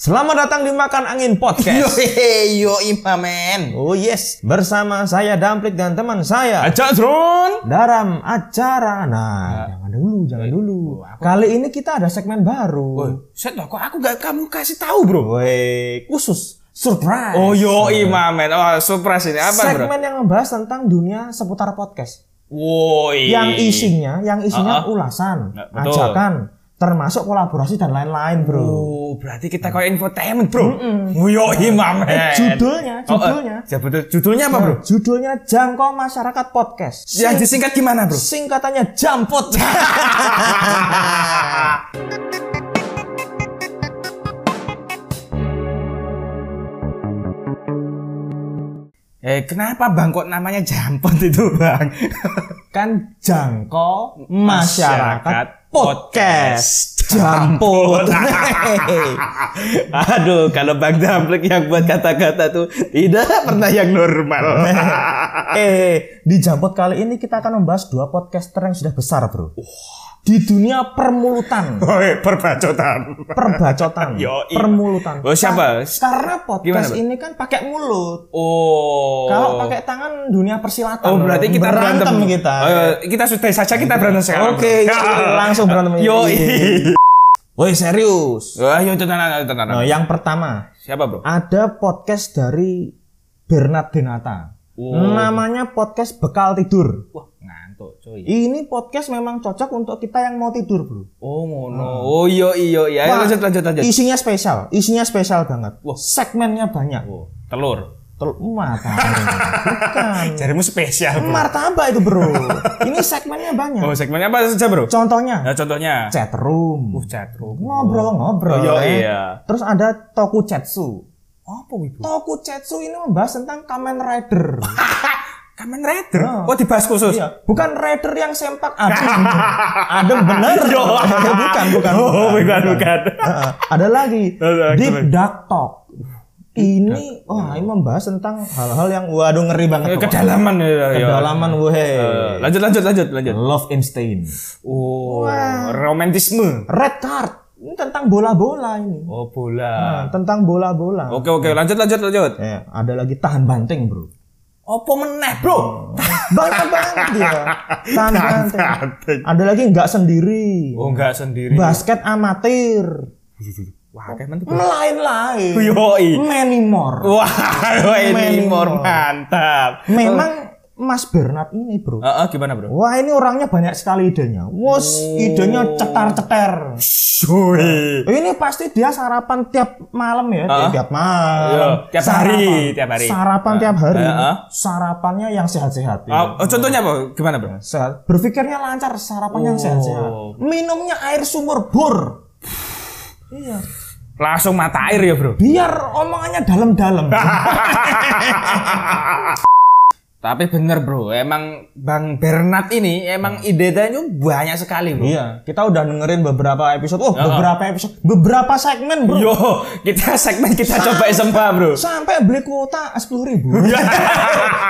Selamat datang di Makan Angin Podcast. Yo imamen. Oh yes, bersama saya Damplik dan teman saya Aja drone. dalam acara. Nah, jangan dulu, jangan Iya. dulu. Oh, Kali ini kita ada segmen baru. Set lah, kok aku gak kamu kasih tahu bro. Woi, khusus surprise. Oh yo imamen. Wah surprise ini apa bro? segmen yang membahas tentang dunia seputar podcast. Woi. Yang isinya, yang isinya ulasan, Iya. Nah, betul. ajakan, termasuk kolaborasi dan lain-lain, Bro. Oh, berarti kita kayak infotainment bro. Oh yo imamen. Judulnya, Oh, eh, judulnya. ya betul. Judulnya apa bro? Ya, Judulnya Jangkau Masyarakat Podcast. Yang disingkat gimana bro? Singkatannya Jampot. Eh kenapa bang kok namanya jampot itu bang? kan jangkau masyarakat, Masyarakat podcast podcast. jampot. Aduh, kalau Bang Damplek yang buat kata-kata tuh tidak pernah yang normal. eh, di jampot kali ini kita akan membahas dua podcaster yang sudah besar, Bro. Di dunia permulutan, Woi, perbacotan. perbacotan, Yoi. permulutan. Oh, siapa? Ka- Karena Gimana, podcast Bro? ini kan pakai mulut. Oh. Kalau pakai tangan dunia persilatan. Oh, Bro. berarti kita berantem, berantem kita. Eh, kita sudah saja kita berantem sekarang. Oke, langsung berantem. Iya. Yo. iya. Woi, serius. Ayo iya, tenang, ayo, tenang. Nah, yang pertama, Siapa, Bro? ada podcast dari Bernard Denata. Wow. Namanya podcast Bekal Tidur. Wah, ngantuk, iya. coy. Ini podcast memang cocok untuk kita yang mau tidur, Bro. Oh, ngono. Oh, iya iya iya. Ayo, Wah, Lanjut lanjut lanjut. Isinya spesial, isinya spesial banget. Segmennya banyak. Oh, Telur. Telur mata. Bukan. Ah, Jarimu spesial, Martabak itu, Bro. Ini segmennya banyak. Oh, segmennya apa saja, Bro? Contohnya Nah, contohnya. chat room. Uh, chatroom. Ngobrol-ngobrol. Oh, eh. iya. Terus ada Tokuchetsu. Apa ibu? Tokuchetsu ini membahas tentang Kamen Rider. Kamen Rider. Oh, dibahas khusus. Iya, bukan rider yang sempak adem. adem bener. Yo. bukan, bukan, bukan. Iya. Oh, bukan, bukan. Heeh. Ada lagi Ada lagi. Deep Dark Talk. Ini wah ini membahas tentang hal-hal yang waduh ngeri banget. Eh, kok. Kedalaman Ah. ya. ya. Kedalaman weh. Eh, lanjut lanjut lanjut lanjut. Love Einstein. Oh, romantisme. Red Card. Ini tentang bola-bola ini. Oh, bola. Nah, tentang bola-bola. Oke oke, lanjut lanjut lanjut. Eh, ada lagi tahan banting, Bro. Opo meneh, Bro? Banyak banget ya. Tahan banting. Ada lagi nggak sendiri. Oh, enggak sendiri. Basket amatir. Wah, kayak mantep. lain-lain. Oh. Yoi. Oh. Many more. Wah, ini Menimor. more mantap. Memang Mas Bernard ini, Bro. Heeh, Eh, gimana, Bro? Wah, ini orangnya banyak sekali idenya. Wos, idenya cetar-cetar. Shui. Ini pasti dia sarapan tiap malam ya, tiap malam. Ah. Iya, tiap hari, tiap hari. Ah. Sarapan tiap hari. Heeh. Sarapannya yang sehat-sehat. ya. Oh, contohnya apa? Gimana, Bro? Sehat. Berpikirnya lancar, sarapan yang Oh. sehat-sehat. Minumnya air sumur bor. iya. Langsung mata air ya, Bro. Biar omongannya dalam-dalam. Ah. Tapi bener bro, emang Bang Bernard ini emang idenya itu banyak sekali bro. Iya, kita udah dengerin beberapa episode. Ah, Oh, beberapa episode, beberapa segmen, Bro. Yo, kita segmen kita coba sembah bro. Sampai beli kuota 10.000 ribu.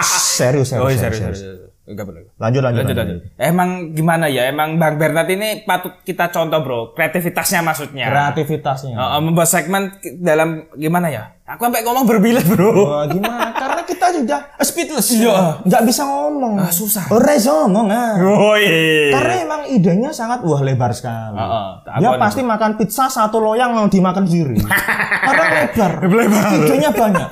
serius, serius, serius, serius. Enggak boleh. Lanjut, lanjut, Oh, iya, Lanjut, lanjut. lanjut. Emang gimana ya? Emang Bang Bernard ini patut kita contoh bro, kreativitasnya maksudnya. Kreativitasnya. Eh, eh, membuat segmen ki- dalam gimana ya? Aku sampai ngomong berbilet bro. Wah, Eh, gimana? Karena kita sudah speechless. Oh. Iya. Ah, Nggak bisa ngomong. susah. Iya. Reza ngomong ah. Woi. Karena emang idenya sangat wah lebar sekali. Heeh, tak Dia akuan pasti makan pizza satu loyang mau dimakan sendiri. Karena lebar. Lebar. Idenya banyak.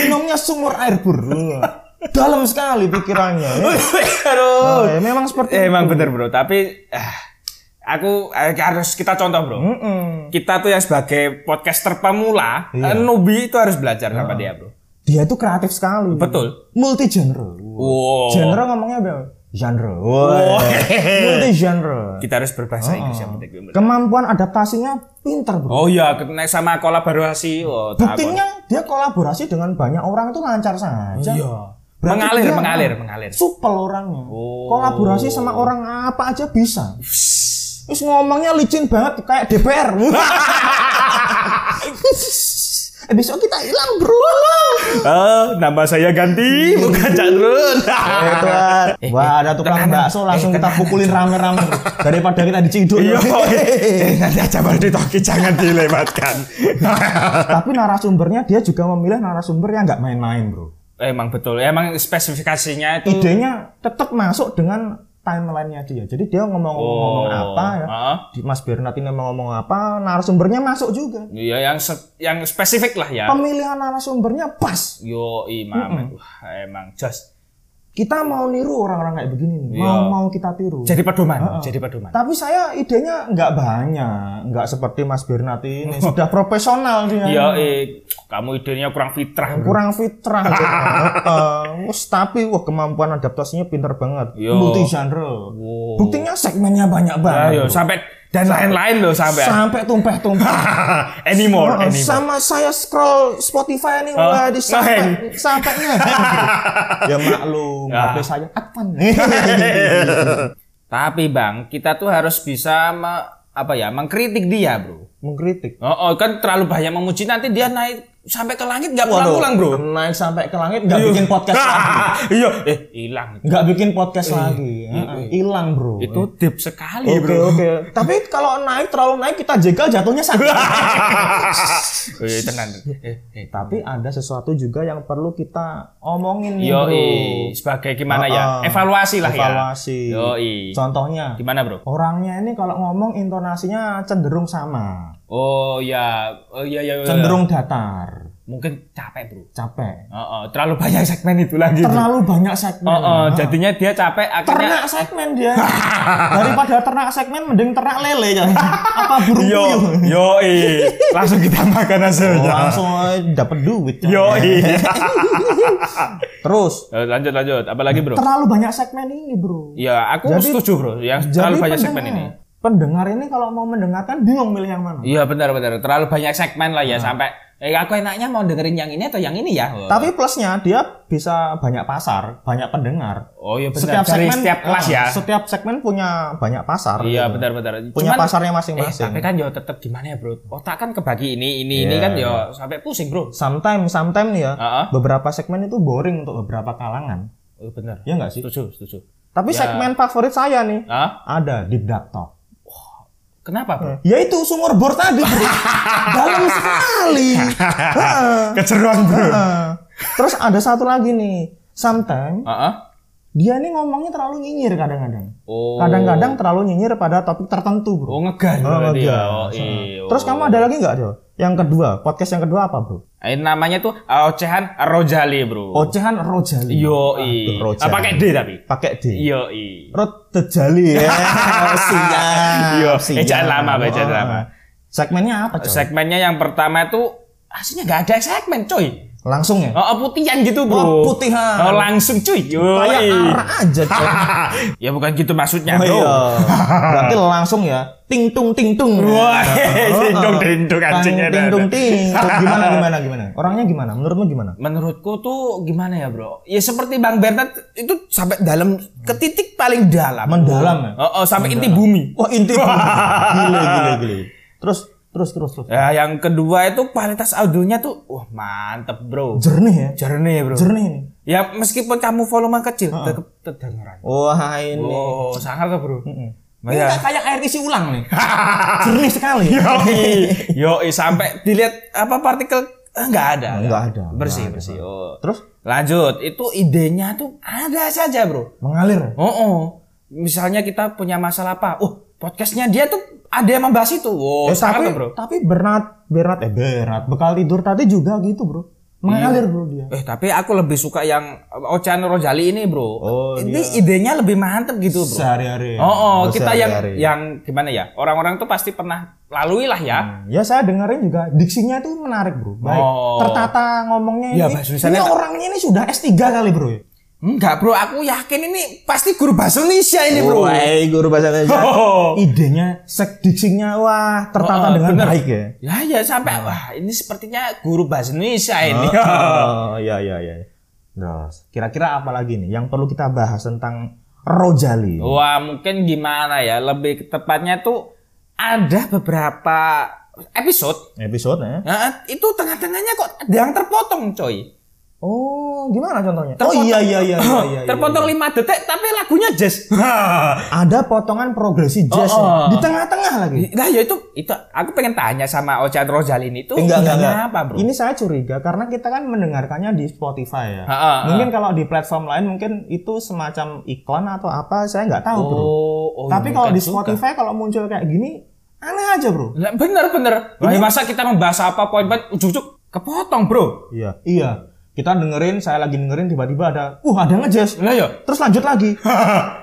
Minumnya sumur air bur. Wah, Dalam sekali pikirannya. ya. Aduh. Eh, memang seperti Eh, Emang bener bro, tapi ah, aku eh, harus kita contoh bro. Kita tuh yang sebagai podcaster pemula, eh, newbie itu harus belajar sama dia bro. dia itu kreatif sekali. Betul. Multi genre. Oh. Wow. Genre ngomongnya apa? Genre. Wow. Multi genre. Kita harus berbahasa Inggris yang penting. bener. Kemampuan adaptasinya pinter bro. Ah. Oh iya, kena sama kolaborasi. Oh, tak apa. Buktinya dia kolaborasi dengan banyak orang itu lancar saja. Berarti Iya. Mengalir, dia mengalir, mengalir. Oh. Supel orangnya. Kolaborasi sama orang apa aja bisa. Terus ngomongnya licin banget kayak DPR. Eh, Besok kita hilang bro. Eh, nama saya ganti bukan Chandrun. Eh, Tuan. Wah, Eh, ada tukang bakso langsung kita pukulin rame-rame daripada kita diciduk. Iya. Eh, nanti aja baru ditoki jangan dilewatkan. Tapi narasumbernya dia juga memilih narasumber yang nggak main-main, Bro. Eh, Emang betul. Emang spesifikasinya itu Idenya tetap masuk dengan timelinenya dia. Jadi dia ngomong-ngomong Oh. apa ya? Heeh. Di- Mas Bernard ini mau ngomong apa? Narasumbernya masuk juga. Iya yang se- yang spesifik lah ya. Pemilihan narasumbernya pas. Yo imam Wah, emang just Kita mau niru orang-orang kayak begini nih. Mau Iya. mau kita tiru. jadi pedoman, jadi pedoman. Tapi saya idenya nggak banyak, nggak seperti Mas Bernard ini sudah profesional dia. Iya, eh, kamu idenya kurang fitrah. bro. kurang fitrah. Heeh. Wes, tapi wah kemampuan adaptasinya pinter banget. Yo. Multi genre. Wow. Buktinya segmennya banyak banget. Ayo sampai dan lain-lain loh sampai. Sampai tumpah-tumpah. anymore, Heeh, anymore. sama saya scroll Spotify ini Oh, wah di sampai ngeheng. sampai ngeheng. ya maklum, Ya. HP saya advan. Tapi Bang, kita tuh harus bisa me- apa ya, mengkritik dia, Bro. Mengkritik. Oh, oh, kan terlalu banyak memuji nanti dia naik sampai ke langit nggak pulang-pulang, Bro. Naik sampai ke langit nggak bikin podcast lagi. Iya, eh hilang. Nggak bikin podcast lagi. Heeh, Hilang, Bro. Itu deep sekali, Oke, oke. Bro. Gitu. Tapi kalau naik terlalu naik kita jegal jatuhnya sakit. Eh, tenang. Eh, eh. Tapi ada sesuatu juga yang perlu kita omongin nih, Yo, Bro. sebagai gimana ya? Heeh. Evaluasi lah Evaluasi. ya. Yoi. Contohnya, Gimana, Bro? orangnya ini kalau ngomong intonasinya cenderung sama. Oh ya, oh ya ya. ya. cenderung datar, Mungkin capek, Bro. capek. Oh, oh, terlalu banyak segmen itu lagi. Bro. Terlalu banyak segmen. Oh, oh, jadinya dia capek akhirnya ternak segmen dia. Daripada ternak segmen mending ternak lele ya. Apa burung yo puyuh. yo eh. langsung kita makan Oh, ya. Iya. hasilnya. langsung dapat duit. coy. Yo eh. Terus Eh, lanjut lanjut, apalagi bro? terlalu banyak segmen ini, Bro. Ya aku Jadi- setuju bro, yang terlalu banyak segmen ini. pendengar- Pendengar ini kalau mau mendengarkan bingung milih yang mana. Iya benar benar, terlalu banyak segmen lah Nah. ya sampai. Eh aku enaknya mau dengerin yang ini atau yang ini ya? Oh, Tapi plusnya dia bisa banyak pasar, banyak pendengar. oh iya benar. Setiap Dari segmen setiap kelas eh, ya. Setiap segmen punya banyak pasar. Iya gitu. benar benar. Punya Cuman- pasarnya Eh, masing-masing. tapi kan yo tetap gimana ya bro? Otak kan kebagi ini ini ini Iya. kan yo sampai pusing bro. sometimes sometimes nih ya Heeh. beberapa segmen itu boring untuk beberapa kalangan Oh benar. ya nggak sih Setuju setuju. tapi Ya. segmen favorit saya nih Ah, ada di Dark Talk kenapa bro? yaitu sumur bor tadi bro. dalam sekali Heeh, Keceruan bro. heeh. terus ada satu lagi nih sometimes Heeh. dia nih ngomongnya terlalu nyinyir kadang-kadang Oh. kadang-kadang terlalu nyinyir pada topik tertentu bro Oh ngegan Oh, berarti iya. ya. Oh, iya. terus kamu ada lagi nggak Del? yang kedua podcast yang kedua apa bro Eh, namanya tuh Ocehan Rojali bro. ocehan rojali Yo Aduh, Oh, Rojali. Ah, pakai D Iya. tapi. pakai D Yo Rot Tejali ya. siap. Iya, siap. ejaan lama, ejaan lama. Oh, Segmennya apa, coy? Segmennya yang pertama itu aslinya nggak ada segmen coy. Langsung ya? Oh, oh, putihan gitu bro. Oh, putihan. Oh iya. langsung cuy. Yo Kayak arah aja, coy. Ya bukan gitu maksudnya Oh, bro. iya. Berarti langsung ya. Ting tung ting tung. Wah, Oh, dindung oh. dindung anjingnya. Ting ada. tung ting. Gimana gimana gimana? Orangnya gimana? Menurutmu gimana? Menurutku tuh gimana ya bro? Ya seperti Bang Bernard itu sampai dalam ke titik paling dalam. Mendalam ya? Oh, oh, sampai inti bumi. Wah, inti Gile gile gile. Terus terus terus terus. Ya, yang kedua itu kualitas audionya tuh, wah mantep bro. Jernih ya? Jernih bro. Jernih nih. Ya meskipun kamu volume kecil, tetap terdengaran. Wah, Iya. ini. Oh, sangat tuh bro. Hmm. Ini Ya. nggak kayak air isi ulang nih. Jernih sekali. Yoi, yoi sampai dilihat apa partikel eh, nggak ada. Enggak ada. Bersih bersih. Oh. Terus Lanjut, itu idenya tuh ada saja bro. mengalir. Oh, oh. misalnya kita punya masalah apa? Oh, podcastnya dia tuh ada yang membahas itu. Wow, Eh, tapi sangat tuh bro. tapi Bernard Bernard eh Bernard bekal tidur tadi juga gitu bro mengalir bro dia Eh tapi aku lebih suka yang eh, Ocean Rojali ini bro. Oh, ini idenya lebih mantep gitu bro. sehari-hari Oh, iya. oh, kita yang yang gimana ya? Orang-orang tuh pasti pernah lalui lah ya. ya saya dengerin juga diksinya itu menarik bro baik Oh. tertata ngomongnya Ya, ini bahasa Indonesia- ini orangnya ini sudah S3 kali bro ya Enggak bro, aku yakin ini pasti guru bahasa Indonesia ini bro. guru bahasa Indonesia Oh. idenya sek diksinya wah tertata Oh, dengan bener. baik ya Ya ya sampai wah ini sepertinya guru bahasa Indonesia ini. oh ya ya ya terus kira-kira apa lagi nih yang perlu kita bahas tentang Rojali Wah mungkin gimana ya? Lebih tepatnya tuh ada beberapa episode episode ya Nah, itu tengah-tengahnya kok ada yang terpotong coy. Oh, gimana contohnya? Terpotong- oh iya iya iya iya. iya, iya. Terpotong lima detik tapi lagunya jazz. Ada potongan progresi jazz Oh, ya. oh. di tengah-tengah lagi. Nah ya itu itu aku pengen tanya sama Ocean Rosalin itu Enggak, enggak, idenya enggak. apa bro? Ini saya curiga karena kita kan mendengarkannya di Spotify ya. Ha, ha, ha. Mungkin kalau di platform lain mungkin itu semacam iklan atau apa, saya nggak tahu, Bro. oh, oh, Tapi kalau bukan di juga. Spotify kalau muncul kayak gini, aneh aja, Bro. Lah, bener bener. Wah, ya masa kita membahas apa poin poin ujuk kepotong bro? Iya. Iya. Kita dengerin, saya lagi dengerin tiba-tiba ada, uh ada ngejazz. Lah ya. Terus lanjut lagi.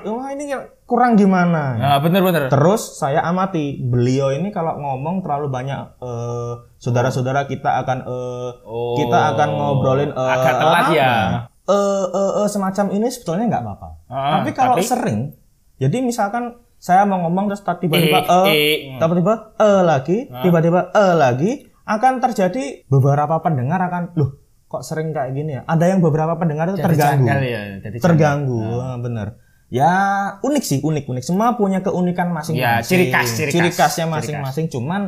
Wah, ini kurang gimana? ya? Nah, bener bener. Terus saya amati beliau ini kalau ngomong terlalu banyak eh, saudara-saudara kita akan eh, Oh. kita akan ngobrolin eh, Agak telat apa? ya. Eh, eh, eh, semacam ini sebetulnya nggak apa-apa. Ah, tapi kalau tapi- sering, jadi misalkan saya mau ngomong terus tiba-tiba Eh, eh, eh. Ah. tiba-tiba eh lagi, tiba-tiba eh lagi, akan terjadi beberapa pendengar akan loh kok sering kayak gini ya. Ada yang beberapa pendengar itu terganggu Janggal ya. Jadi terganggu Nah. Ah, bener ya unik sih unik unik semua punya keunikan masing-masing Ya, ciri khas, ciri khas. khasnya Ciri khas. masing-masing cuman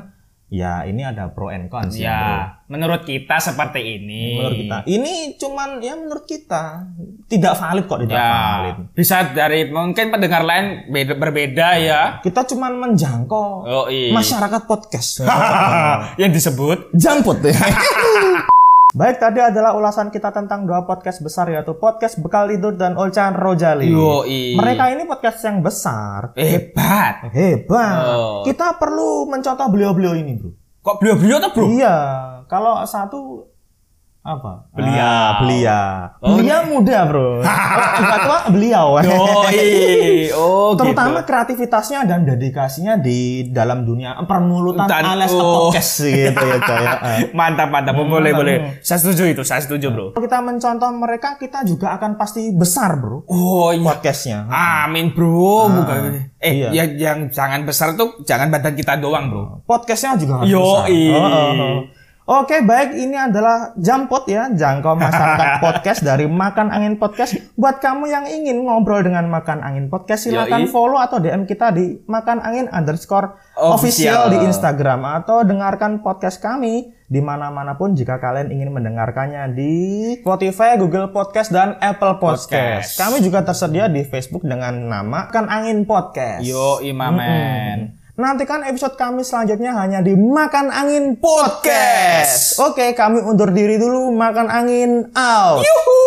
ya ini ada pro and cons Ya, menurut kita seperti ini. bro. menurut kita ini cuman ya menurut kita tidak valid kok tidak Ya, valid bisa dari mungkin pendengar lain beda, berbeda ya. kita cuman menjangkau Oh iya. masyarakat podcast yang disebut jamput Baik, tadi adalah ulasan kita tentang dua podcast besar yaitu podcast Bekal Tidur dan Olcan Rojali. Yoi. Mereka ini podcast yang besar, hebat. Hebat. Oh. Kita perlu mencontoh beliau-beliau ini, Bro. Kok beliau-beliau tuh, Bro? Iya, kalau satu apa? Beliau. Ah, beliau. Oh. Beliau muda, Bro. Kalau tua tua beliau. eh. Doi. Oh, Terutama gitu. kreativitasnya dan dedikasinya di dalam dunia permulutan Dan- alias oh. podcast gitu ya, coy. Heeh. Mantap, Hmm, mantap. boleh, boleh. Saya setuju itu, saya setuju, Bro. Kalau kita mencontoh mereka, kita juga akan pasti besar, Bro. Oh, iya. Podcastnya. Amin, Bro. Bukan. Eh, Iya. ya, yang jangan besar tuh jangan badan kita doang, Bro. podcastnya juga harus Yoi. besar. Oh, oh, oh. Oke baik ini adalah jampot ya jangkau masyarakat podcast dari Makan Angin Podcast. Buat kamu yang ingin ngobrol dengan Makan Angin Podcast silakan Yoi. follow atau DM kita di Makan Angin underscore official Official. di Instagram atau dengarkan podcast kami di mana-mana pun jika kalian ingin mendengarkannya di Spotify, Google Podcast dan Apple Podcast. Podcast. Kami juga tersedia di Facebook dengan nama Makan Angin Podcast. Yo, imamen. Nantikan episode kami selanjutnya hanya di Makan Angin Podcast. Oke, kami undur diri dulu. Makan Angin out. Yuhuu.